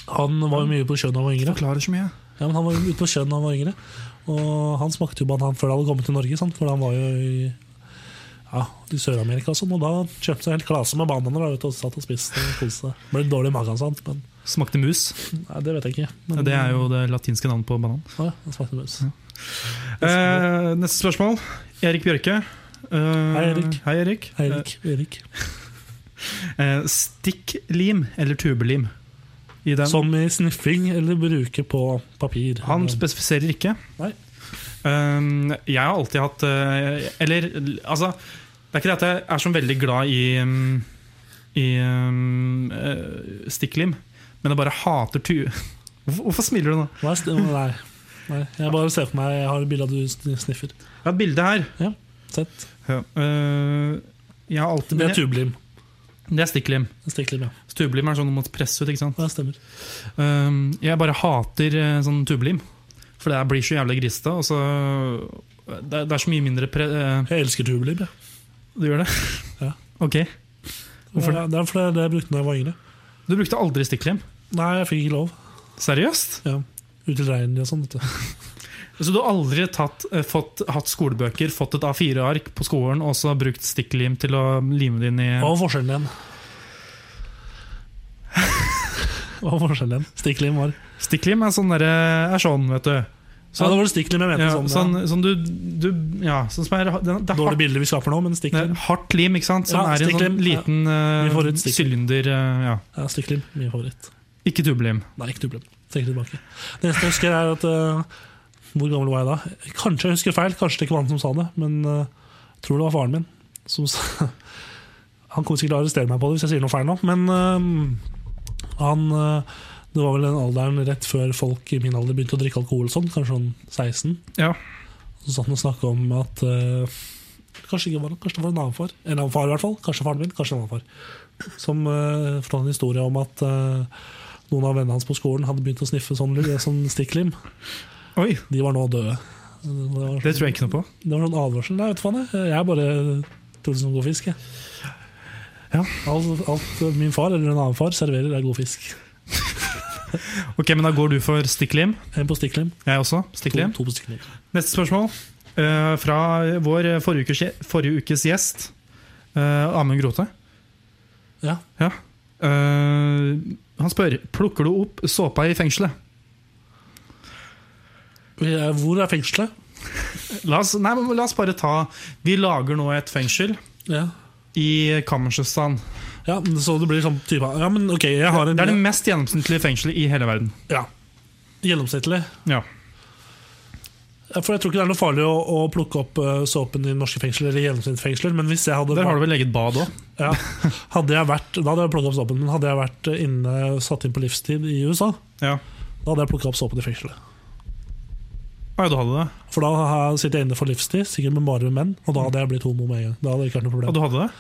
S2: han var jo mye på sjøen da han var yngre.
S1: Forklarer så mye.
S2: Ja, men Han var jo ute på sjøen da han var yngre. Og han smakte jo banan før det hadde kommet til Norge, sant? for han var jo i, ja, i Sør-Amerika. og Sånn, og da kjøpte han en hel klase med bananer da, vet du, og satt og spiste og koste seg. Ble litt dårlig i magen, sant? men
S1: Smakte mus.
S2: nei, det vet jeg ikke. Men,
S1: Det er jo det latinske navnet på banan.
S2: ja, han smakte mus.
S1: Eh, neste spørsmål. Erik Bjørke. Eh,
S2: Hei, Erik.
S1: Hei, Erik.
S2: Eirik. Eirik.
S1: Eh, stikklim eller tubelim? I den.
S2: Som i sniffing eller bruke på papir.
S1: Han spesifiserer ikke.
S2: Nei.
S1: Um, jeg har alltid hatt eh, Eller altså Det er ikke det at jeg er så veldig glad i, um, i um, eh, stikklim, men jeg bare hater tu... Hvorfor, hvorfor smiler du nå?
S2: Hva er st- nei. nei. Jeg bare ser for meg Jeg har et bilde av at du sn- sniffer.
S1: Jeg har et bilde her.
S2: Sett.
S1: Ja. Eh, jeg har alltid
S2: Det
S1: men
S2: er tublim.
S1: jeg- Det er stikklim.
S2: Stikklim, ja.
S1: Tubelim er sånn du må presse ut. ikke sant?
S2: Det stemmer.
S1: Um, jeg bare hater eh, sånn tubelim. For det blir så jævlig grisete. Og så, det, er- det er så mye mindre pre... eh,
S2: Jeg elsker tublim. Ja.
S1: du gjør det?
S2: Ja.
S1: Ok. Hvorfor
S2: Ja, Det er fordi det jeg brukte da jeg var yngre.
S1: Du brukte aldri stikklim?
S2: Nei, jeg fikk ikke lov.
S1: Seriøst?
S2: Ja. Ut til regnet og sånt. vet du.
S1: Så du har aldri tatt, eh, fått, hatt skolebøker, fått et A4-ark på skolen og så brukt stikklim til å lime det inn i
S2: Hva var forskjellen igjen? Hva var forskjellen igjen? Stikklim var
S1: Stikklim er sånn derre Er sånn, vet du.
S2: Ja, det
S1: Sånn,
S2: var det stikklim jeg mente.
S1: ja,
S2: sånn, ja.
S1: sånn, sånn du, du Ja, sånn som er det er
S2: Dårlig
S1: hardt,
S2: bilde vi skaper nå, men
S1: det er
S2: stikklim.
S1: hardt lim, ikke sant? Som
S2: Ja,
S1: er i en sånn
S2: stikklim, ja.
S1: liten eh,
S2: Vi får et stikklim.
S1: sylinder eh, Ja.
S2: Ja, stikklim, Min favoritt.
S1: Ikke tubelim.
S2: Nei, ikke problem. Tenk tilbake. Det eneste jeg husker, er at eh, Hvor gammel var jeg da? Kanskje jeg husker feil, kanskje det ikke var han som sa det, men eh, jeg tror det var faren min som sa Han kommer sikkert til å arrestere meg på det hvis jeg sier noe feil nå, men eh, han eh, Det var vel den alderen rett før folk i min alder begynte å drikke alkohol, og sånn, kanskje sånn 16.
S1: Ja.
S2: Så satt han og snakka sånn om at eh, Kanskje ikke var han, kanskje det var en annen far. En annen far i hvert fall, Kanskje faren min, kanskje en annen far. Som eh, fortalte en historie om at eh, noen av vennene hans på skolen hadde begynt å sniffe sånn, lyd, sånn stikklim.
S1: Oi,
S2: De var nå døde. Det var,
S1: det tror jeg ikke noe på.
S2: det var sånn advarsel. Nei, vet du faen jeg. Jeg bare trodde som god fisk, jeg.
S1: Ja.
S2: Alt, alt min far eller en annen far serverer, er god fisk.
S1: Ok, Men da går du for stikklim.
S2: En på stikklim,
S1: Jeg også.
S2: to,
S1: Stikklim.
S2: to på stikklim.
S1: Neste spørsmål eh, fra vår forrige ukes, forrige ukes gjest, eh, Amund Grote.
S2: Ja.
S1: Ja. Eh, han spør plukker du opp såpa i fengselet.
S2: Vi er- Eh, Hvor er fengselet?
S1: La oss, nei, men la oss bare ta Vi lager nå et fengsel
S2: Ja.
S1: i Kammersøstan.
S2: ja, men Så det blir sånn type Ja, men ok, jeg har en
S1: Det er det mest gjennomsnittlige fengselet i hele verden.
S2: Ja. Gjennomsnittlig.
S1: Ja.
S2: For jeg tror ikke det er noe farlig å, å plukke opp eh, såpen i norske fengsler eller gjennomsnittsfengsler, men hvis jeg hadde
S1: Der har du vel eget bad òg.
S2: Ja. Hadde jeg vært, da hadde jeg plukket opp såpen, men hadde jeg vært inne, satt inn på livstid i USA,
S1: Ja.
S2: da hadde jeg plukket opp såpen i fengselet.
S1: ja, du hadde det.
S2: For da har jeg- sitter jeg inne for livstid, sikkert med bare menn, og da hadde jeg blitt homo med en gang. Da hadde det ikke vært noe
S1: Ja,
S2: problem.
S1: du hadde det.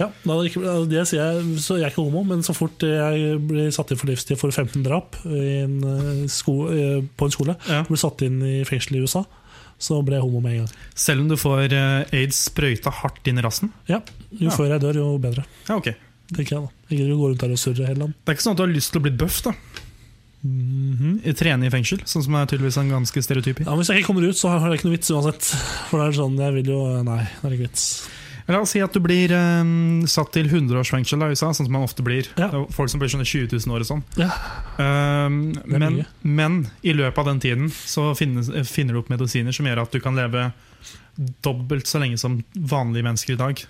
S2: Ja, da hadde det ikke, altså, det sier jeg, så jeg er ikke homo, men så fort jeg blir satt inn for livstid for 15 drap i en, eh, sko, eh, på en skole,
S1: Ja.
S2: ble satt inn i fengsel i USA, så ble jeg homo med en gang.
S1: Selv om du får eh, aids sprøyta hardt inn i rassen?
S2: Ja, Jo
S1: Ja.
S2: før jeg dør, jo bedre,
S1: Ja, ok. Det
S2: tenker jeg da. Jeg gidder ikke å gå rundt her og surre hele land.
S1: er ikke sånn at du har lyst til å bli bøff, da. I- Trene i fengsel, sånn som er tydeligvis en ganske stereotyp i.
S2: Ja, men Hvis jeg ikke kommer ut, så har jeg ikke noe vits uansett. For det er sånn, jeg vil jo, nei, det er ikke vits.
S1: La oss si at du blir eh, satt til 100 års fengsel da, i USA, sånn som man ofte blir.
S2: Ja.
S1: Det er Folk som blir sånn i 20 000 år og sånn.
S2: Ja.
S1: Ehm,
S2: er
S1: men,
S2: mye.
S1: men i løpet av den tiden så finnes, eh, finner du opp medisiner som gjør at du kan leve dobbelt så lenge som vanlige mennesker i dag.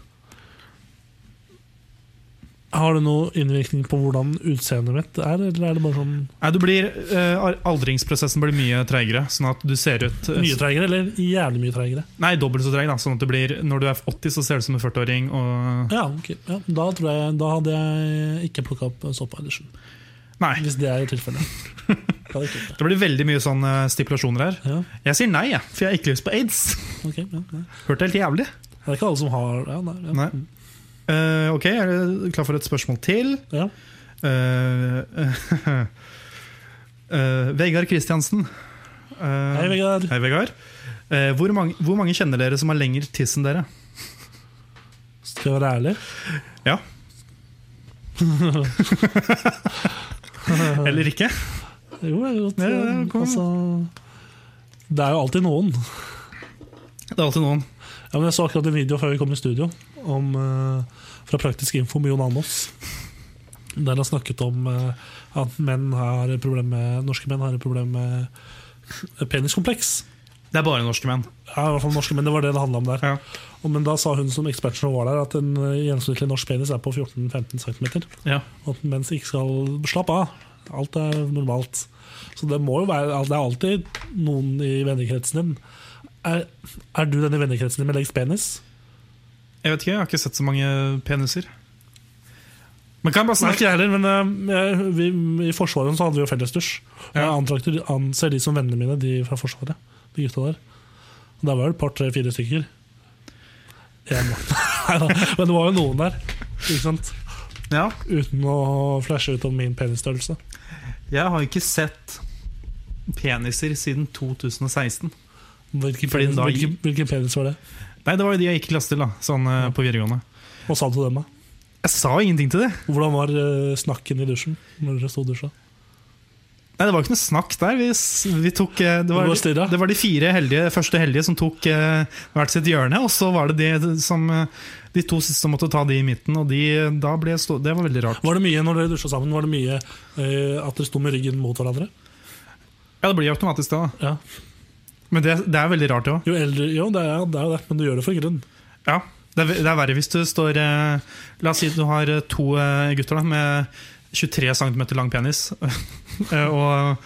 S2: Har det noe innvirkning på hvordan utseendet mitt er, eller er det bare sånn
S1: Nei, du blir, eh, al- aldringsprosessen blir mye treigere, sånn at du ser ut eh,
S2: mye treigere, eller jævlig mye treigere?
S1: Nei, dobbelt så treig. da, Sånn at du blir, når du er 80, så ser du ut som en 40-åring. og...
S2: Ja, ok. Ja, da tror jeg, da hadde jeg ikke plukka opp såpa Edersen.
S1: Nei.
S2: Hvis det er tilfellet. Da hadde jeg ikke gjort det.
S1: Det blir veldig mye sånn eh, stipulasjoner her.
S2: Ja,
S1: Jeg sier nei, jeg, for jeg har ikke lyst på aids.
S2: ok. Ja, nei.
S1: Hørt det helt jævlig.
S2: Det er ikke alle som har ja, nei, ja.
S1: Nei. Eh, ok, er du klar for et spørsmål til?
S2: Ja.
S1: Eh, eh, Vegard Kristiansen. Eh,
S2: Hei, Vegard.
S1: Hei, Vegard. Eh, hvor, mange, hvor mange kjenner dere som har lengre tiss enn dere?
S2: Skal jeg være ærlig?
S1: Ja.
S2: Eh.
S1: Eller ikke?
S2: Jo, det er godt.
S1: Ja, ja, kom.
S2: altså, det er jo alltid noen.
S1: Det er alltid noen.
S2: Ja, men jeg så akkurat en video før vi kom i studio om, eh, fra Praktisk Info med Jon Almaas. Der han snakket om eh, at menn har et problem med, norske menn har et problem med peniskompleks.
S1: Det er bare norske menn.
S2: Ja, i hvert fall norske, men Det var det det handla om der.
S1: Ja.
S2: Og, men da sa hun som ekspert som var der, at en eh, gjennomsnittlig norsk penis er på 14-15 cm.
S1: Ja.
S2: Og at menn ikke skal slappe av. Alt er normalt. Så det må jo være altså, Det er alltid noen i vennekretsen din. Er, er du den i vennekretsen din med lengst penis?
S1: Jeg vet ikke, jeg har ikke sett så mange peniser. Men kan jeg bare
S2: Nei,
S1: snakke
S2: ikke jeg heller, men eh, jeg, vi, i Forsvaret så hadde vi jo fellesdusj. Og Jeg
S1: Ja.
S2: antrakter, anser de som vennene mine, de fra Forsvaret. De gutta der. Og der var det et par, tre, fire stykker. En, Neida, men det var jo noen der. Ikke sant?
S1: Ja,
S2: Uten å flashe ut om min penisstørrelse.
S1: jeg har ikke sett peniser siden 2016.
S2: Hvilken
S1: Fordi
S2: penis,
S1: da-
S2: hvilken, hvilken penis var det?
S1: Nei, det var jo de jeg gikk i klasse til, da, sånn eh, på videregående.
S2: Hva sa du til dem? da?
S1: Jeg sa ingenting til det.
S2: Hvordan var eh, snakken i dusjen? Når dere stod og dusja?
S1: Nei, Det var ikke noe snakk der. Vi, s- vi tok, eh, det,
S2: Du
S1: var,
S2: var stirra.
S1: det var de fire heldige, første heldige som tok eh, hvert sitt hjørne. Og så var det de, som, eh, de to siste som måtte ta de i midten. Og de, da ble jeg stå, Det var veldig rart.
S2: Var det mye når dere dusja sammen? Var det mye eh, at dere sto med ryggen mot hverandre?
S1: Ja, Det blir automatisk det. da.
S2: Ja.
S1: Men det, det er veldig rart, det òg.
S2: Jo eldre Jo, det er det, er jo det, men du gjør det for grunn.
S1: Ja, det er, det er verre hvis du står eh, La oss si du har eh, to eh, gutter da, med 23 cm lang penis, eh, og,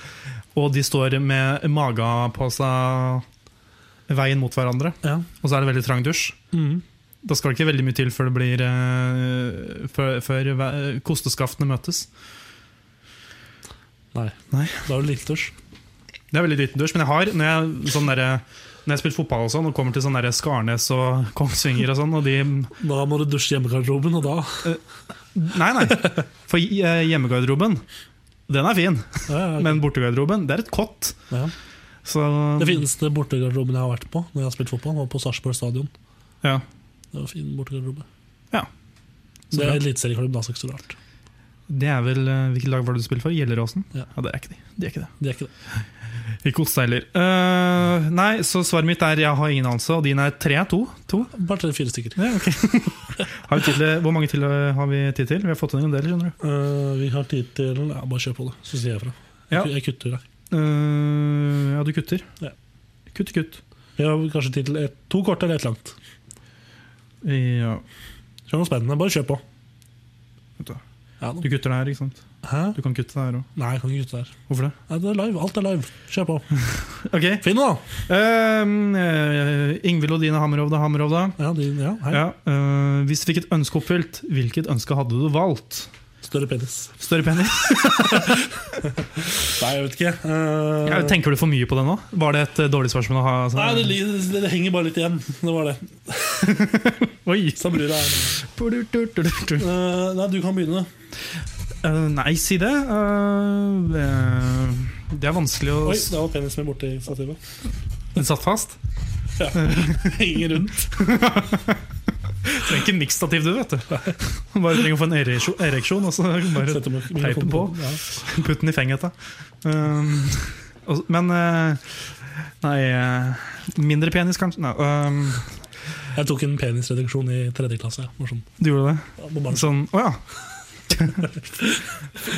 S1: og de står med maga på seg veien mot hverandre,
S2: Ja.
S1: og så er det veldig trang dusj.
S2: Mm.
S1: Da skal det ikke veldig mye til før, det blir, eh, før, før ve- kosteskaftene møtes.
S2: Nei.
S1: Nei.
S2: Da er det liten dusj.
S1: Det er veldig liten dusj, men jeg har når jeg, sånn derre- når jeg har spilt fotball og sånn, og kommer til sånn derre Skarnes og Kongsvinger og sånn, og de
S2: Da må du dusje i hjemmegarderoben, og da
S1: Nei, nei. For eh, hjemmegarderoben, den er fin.
S2: ja, ja,
S1: Men bortegarderoben, det er et kott.
S2: ja.
S1: Så
S2: Det fineste bortegarderoben jeg har vært på når jeg har spilt fotball, var på Sarpsborg stadion.
S1: Ja.
S2: Det var fin bortegarderobe.
S1: Ja.
S2: Så det
S1: bra.
S2: er eliteserieklubb, da, så ikke så rart.
S1: Det er vel eh, Hvilket lag var det du spilte for? Gjelleråsen?
S2: Ja.
S1: det er ikke de. De er ikke det.
S2: Det er ikke det.
S1: Ikke Otstad heller. Eh, nei, så svaret mitt er jeg har ingen anelse, og din er tre? To? to.
S2: Bare tre-fire stykker.
S1: Ja, ok. har vi tid til, hvor mange til eh, har vi tid til? Vi har fått inn en del, skjønner du.
S2: Eh, vi har tid til ja, Bare kjør på, det, så sier jeg fra.
S1: Ja,
S2: Jeg kutter deg.
S1: eh, ja du kutter.
S2: Ja.
S1: Kutt, kutt.
S2: Vi har kanskje tid til et, to korte eller ett langt.
S1: Ja.
S2: Kjør noe spennende. Bare kjør på.
S1: Vent da.
S2: Ja, nå.
S1: Du kutter det her, ikke sant?
S2: Hæ?
S1: Du kan kutte det her òg.
S2: Nei, jeg kan ikke kutte der.
S1: Hvorfor det?
S2: Nei, det er live. Alt er live. Kjør på.
S1: Ok.
S2: Finn, da!
S1: Um, Ingvild og Dine Hammerovda, Hammerovda.
S2: Ja, din, ja, hei.
S1: Ja, eh, hvis du fikk et ønske oppfylt, hvilket ønske hadde du valgt?
S2: Større penis.
S1: Større penis?
S2: Nei, jeg vet ikke. Eh,
S1: Ja, tenker du for mye på det nå? Var det et eh, dårlig spørsmål å ha? sånn?
S2: Nei, det, li- det, det henger bare litt igjen. Det var det.
S1: Oi!
S2: Så blir det her. Eh, Nei, du kan begynne.
S1: Eh, nei, si det. Eh, eh, det er vanskelig å
S2: Oi, der var penisen min borti stativet.
S1: Den satt fast.
S2: Henger rundt.
S1: Trenger ikke mikstativ, du, vet du. Bare trenger å få en ereksjon, ereksjon og så bare
S2: Setter mikrofonen
S1: teipen på.
S2: Ja.
S1: putte den i fengeta. Um, og- men eh, Nei, eh, mindre penis, kanskje? Nei, um,
S2: Jeg tok en penisreduksjon i tredje klasse. ja. Morsom.
S1: du gjorde det?
S2: Ja, på barns-
S1: Sånn, å ja.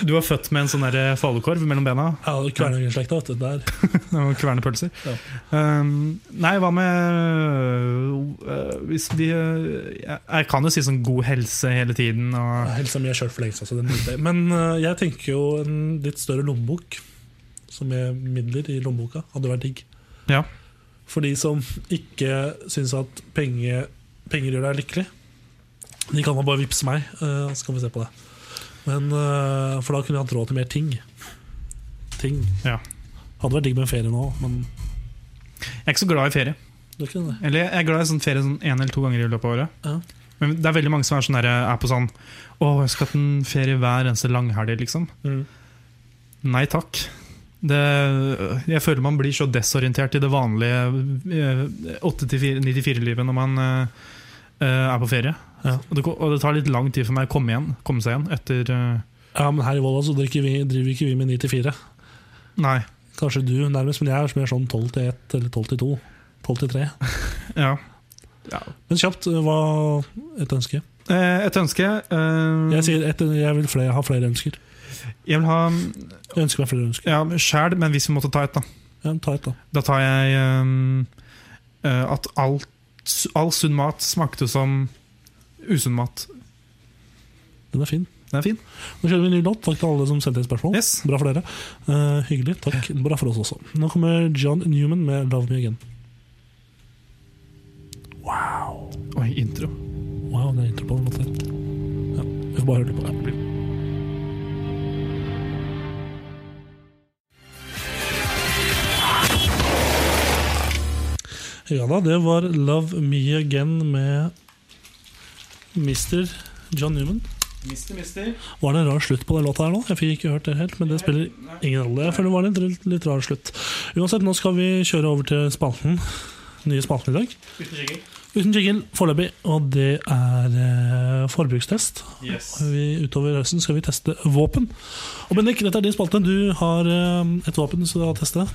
S1: Du var født med en sånn der falukorv mellom bena
S2: Ja, Kvernøyenslekta, vet du. Der.
S1: og kvernepølser. Um, nei, hva med øh, Hvis vi øh, jeg, jeg kan jo si sånn god helse hele tiden og
S2: Helsa mi er kjørt for lengst. Altså, den driter jeg i. Men eh, jeg tenker jo en litt større lommebok, som er midler i lommeboka, hadde vært digg.
S1: Ja.
S2: For de som ikke syns at penge, penger gjør deg lykkelig, de kan da bare vippse meg, eh, så kan vi se på det. Men, eh, for da kunne jeg hatt råd til mer ting. Ting.
S1: Ja.
S2: Hadde vært digg med en ferie nå, men
S1: Jeg er ikke så glad i ferie.
S2: det er ikke det.
S1: Eller jeg er glad i sånn ferie sånn en eller to ganger i løpet av året.
S2: Ja.
S1: Men det er veldig mange som er, sånn der, er på sånn Å, jeg skal ha en ferie hver eneste langhelg, liksom.
S2: Mm.
S1: Nei takk. Det, jeg føler man blir så desorientert i det vanlige eh, 8-94-livet når man eh, eh, er på ferie.
S2: Ja.
S1: Og, det, ko- og det tar litt lang tid for meg å komme, igjen, komme seg igjen etter eh,
S2: Ja, men her i Volda så drikker vi, driver ikke vi med 9 til 4.
S1: Nei.
S2: Kanskje du nærmest, men jeg er mer sånn 12 til 1 eller 12 til 2. 12 til 3.
S1: Ja.
S2: Men kjapt, eh, hva et ønske?
S1: Eh, et ønske eh,
S2: Jeg sier et, jeg vil flere, ha flere ønsker.
S1: Jeg vil ha
S2: Jeg ønsker meg flere ønsker.
S1: ja, sjæl, men hvis vi måtte ta et, da.
S2: Ja, ta et, da.
S1: Da tar jeg ehm, eh, at alt, all sunn mat smakte som usunn mat.
S2: Den er fin.
S1: Den er fin.
S2: Nå kjører vi en ny låt. Takk til alle som sendte inn spørsmål.
S1: Yes.
S2: Bra for dere. Eh, hyggelig. Takk. Bra for oss også. Nå kommer John Newman med 'Love Me Again'.
S1: Oi, intro.
S2: Wow, det er intro på en måte. Ja, vi får bare høre litt på det. Ja da, det var Love Me Again med Mr. John Newman.
S1: Mister, mister.
S2: Var det en rar slutt på den låta her nå? Jeg fikk ikke hørt det helt, men det spiller ingen rolle. Jeg føler det var en litt, litt rar slutt. Uansett, nå skal vi kjøre over til spalten. Nye spalten i dag. Uten jingle foreløpig, og det er eh, forbrukstest.
S1: Yes.
S2: Vi, utover høsten skal vi teste våpen. Og Bendik, dette er din spalte. Du har eh, et våpen du skal teste.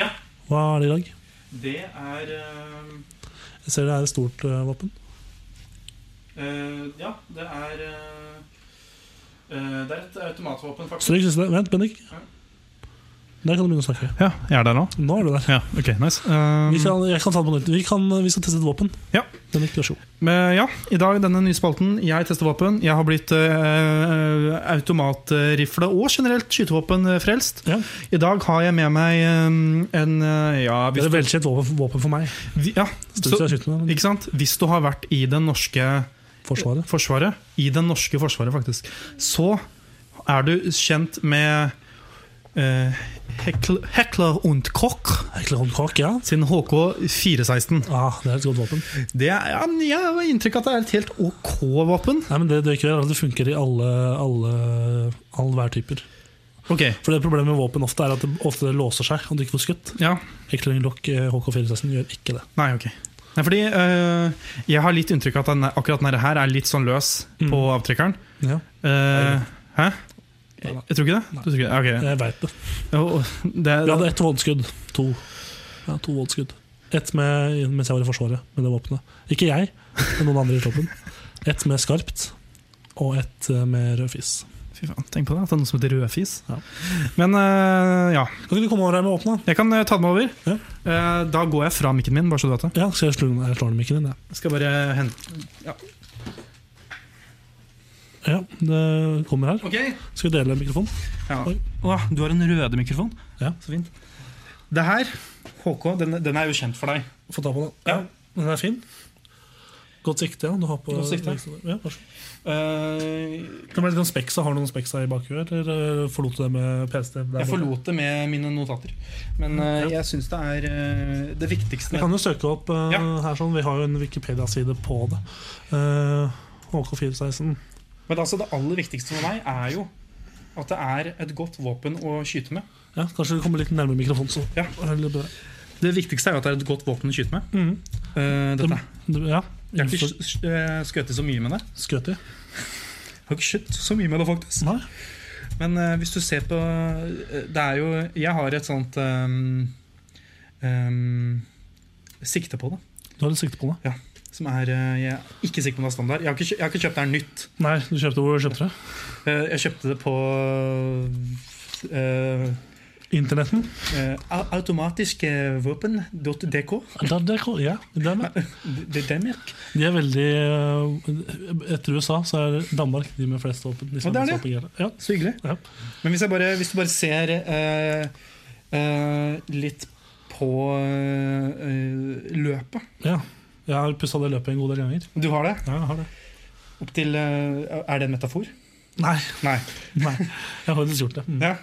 S1: Ja.
S2: Hva er det i dag?
S1: Det er ehm,
S2: Jeg ser det er et stort eh, våpen.
S1: eh, Ja, det er eh, eh, Det er et automatvåpen, faktisk.
S2: Stryk siste. Vent, Bendik.
S1: Ja.
S2: Der kan du begynne å snakke.
S1: Ja, jeg er der nå.
S2: Nå er du der.
S1: Ja, ok, nice. Ehm,
S2: Vi, kan, jeg kan ta det på nytt. Vi, kan, eh, vi skal teste et våpen.
S1: Ja.
S2: Bendik, vær så god.
S1: men ja, I dag denne nye spalten. Jeg tester våpen. Jeg har blitt eh, automatrifle og generelt skytevåpen eh, frelst.
S2: Ja.
S1: I dag har jeg med meg eh, en eh, Ja,
S2: Det
S1: hvis
S2: er et velkjent våpen, våpen for meg.
S1: vi, ja
S2: Stort sett
S1: så,
S2: jeg har skutt med den.
S1: ikke sant? Hvis du har vært i det norske
S2: Forsvaret.
S1: forsvaret, i det norske forsvaret faktisk, så er du kjent med eh, Hekl- Hekler und Koch
S2: Hekla håndkak, ja.
S1: sin HK416.
S2: Ah, det er et godt våpen.
S1: Det er, ja, jeg har inntrykk av at det er et helt OK våpen.
S2: Nei, men Det, det, er ikke det, at det funker i alle, alle all værtyper.
S1: Ok,
S2: For det Problemet med våpen ofte er at det ofte låser seg og du ikke får skutt.
S1: ja
S2: Hekling Lock eh, HK416 gjør ikke det.
S1: Nei, ok. Nei, fordi eh, Jeg har litt inntrykk av at denne, akkurat denne her er litt sånn løs
S2: Mm.
S1: på avtrekkeren.
S2: Ja.
S1: Eh, hæ?
S2: Nei,
S1: Jeg,
S2: nei.
S1: tror ikke det? Du tror ikke det? Ok.
S2: Jeg vet det.
S1: Jo, det,
S2: Vi hadde ett voldskudd. To. Ja, to voldskudd. Ett med, mens jeg var i Forsvaret med det våpenet. Ikke jeg, men noen andre i troppen. Ett med skarpt, og ett eh, med rød fis.
S1: Fy faen, tenk på det, at det er noe som heter rødfis.
S2: Ja.
S1: Men eh, ja,
S2: Kan ikke du komme over her med våpenet?
S1: jeg kan eh, ta den over.
S2: Ja.
S1: Eh, da går jeg fra mikken min, bare så du vet det.
S2: Ja, skal jeg slå, jeg slår den mikken din? Ja.
S1: Jeg skal bare hente
S2: Jeg Ja, det kommer her.
S1: Ok
S2: Skal vi dele mikrofon?
S1: ja.
S2: Oi.
S1: Åh, Du har en røde mikrofon.
S2: Ja.
S1: Så fint. Det her, HK, den, den er jo kjent for deg.
S2: Få ta på den.
S1: Ja.
S2: Den er fin. Godt sikte, ja. Du har på
S1: Godt sikte.
S2: Ja, vær så god.
S1: Eh,
S2: Det ble litt sånn speksa. Har du noen speksa i bakhuet, eller eh, forlot du det med PC? Der
S1: jeg
S2: borte?
S1: forlot det med mine notater. Men eh,
S2: Ja.
S1: jeg syns det er eh, det viktigste
S2: Jeg kan jo søke opp eh,
S1: Ja.
S2: her sånn. Vi har jo en Wikipedia-side på det. Eh, HK416.
S1: Men altså, det aller viktigste for meg er jo at det er et godt våpen å skyte med.
S2: Ja, kanskje du kommer litt nærmere mikrofonen. Så.
S1: Ja.
S2: er det litt bedre.
S1: Det viktigste er jo at det er et godt våpen å skyte med.
S2: Mhm.
S1: Eh, dette.
S2: Du- Ja.
S1: Jeg har ikke sk- eh, skutt så mye med det.
S2: Skøti?
S1: Jeg har ikke skutt så mye med det, faktisk.
S2: Nei.
S1: Men eh, hvis du ser på eh, Det er jo Jeg har et sånt ehm, ehm, sikte på det.
S2: Du har litt sikte på det?
S1: Som er eh, Jeg er ikke sikker på om det er standard. Jeg har ikke, kjø- jeg har ikke kjøpt det her nytt.
S2: Nei, du kjøpte hvor du kjøpte det?
S1: Eh, jeg kjøpte det på eh,
S2: Internetten?
S1: eh, au- eh, Automatiskevåpen.dk.
S2: Der, der, kom- ja, det er med.
S1: Det er Danmark.
S2: De er veldig eh, Etter USA så er Danmark de med flest våpen. De som
S1: det er
S2: har
S1: det.
S2: mest våpen i hele. Ja.
S1: Så hyggelig.
S2: Ja.
S1: Men hvis, jeg bare, hvis du bare ser eh, eh, litt på eh, løpet
S2: ja. Jeg har pussa det løpet en god del ganger.
S1: Du har det?
S2: Ja, jeg har det.
S1: Opp til eh, Er det en metafor?
S2: Nei,
S1: Nei.
S2: nei, jeg har faktisk gjort det. Mm.
S1: Ja.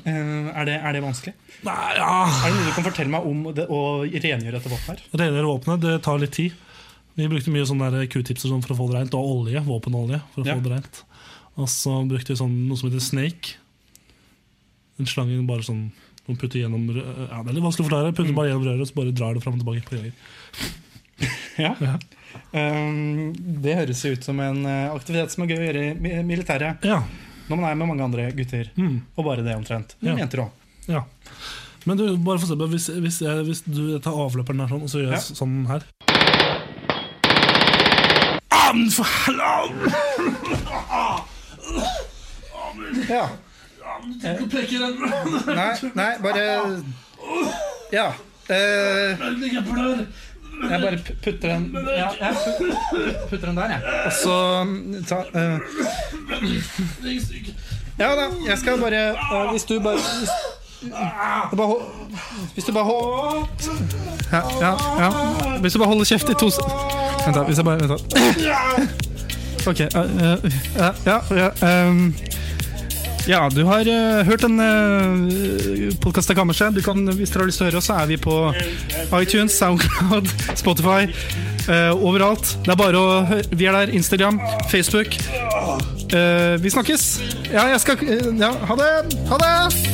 S1: Eh, er, det, er det vanskelig?
S2: Nei, ja.
S1: Er det noe du kan fortelle meg om det, å rengjøre dette våpenet her?
S2: Renere våpenet, det tar litt tid. Vi brukte mye sånne der q-tipser sånn for å få det rent, og olje, våpenolje. for å
S1: Ja.
S2: få det rent. Og så brukte vi sånn, noe som heter snake. Den slangen bare sånn man putter gjennom rø- ja, Det er litt vanskelig å forklare. Putter bare gjennom røret og så bare drar det fram og tilbake. på ganger.
S1: Ja.
S2: Ja.
S1: Eh, det høres jo ut som en eh, aktivitet som er gøy å gjøre i mi- militæret
S2: Ja,
S1: når man er med mange andre gutter.
S2: mm,
S1: Og bare det, omtrent.
S2: Ja.
S1: Men Jenter òg.
S2: ja. Men du, bare for eksempel, hvis, hvis, jeg, hvis du tar avløperen her sånn, og så gjør jeg
S1: Ja.
S2: sånn her Ah, men for helvete!
S1: Ja.
S2: Du prekker den!
S1: Nei, nei, bare Ja. Eh,
S2: Jeg blør!
S1: Jeg bare pu- putter den ja, Jeg pu- putter den der, jeg. Og så mm, ta eh, Ja da, jeg skal bare eh, Hvis du bare Hvis,
S2: Ah.
S1: du bare hold- hvis du bare hold, ja, ja, ja. Hvis du bare holder kjeft i to s- Vent, da. Hvis jeg bare Vent, da. Ok. eh, eh, ja, ja, ehm. Ja, du har eh, hørt en uh, podkast av Kammerset. Du kan, hvis dere har lyst til å høre oss, så er vi på iTunes, Soundcloud, Spotify. eh, overalt. Det er bare å høre. Vi er der. Instagram, Facebook. Eh, vi snakkes. Ja, jeg skal eh, Ja, ha det! Ha det!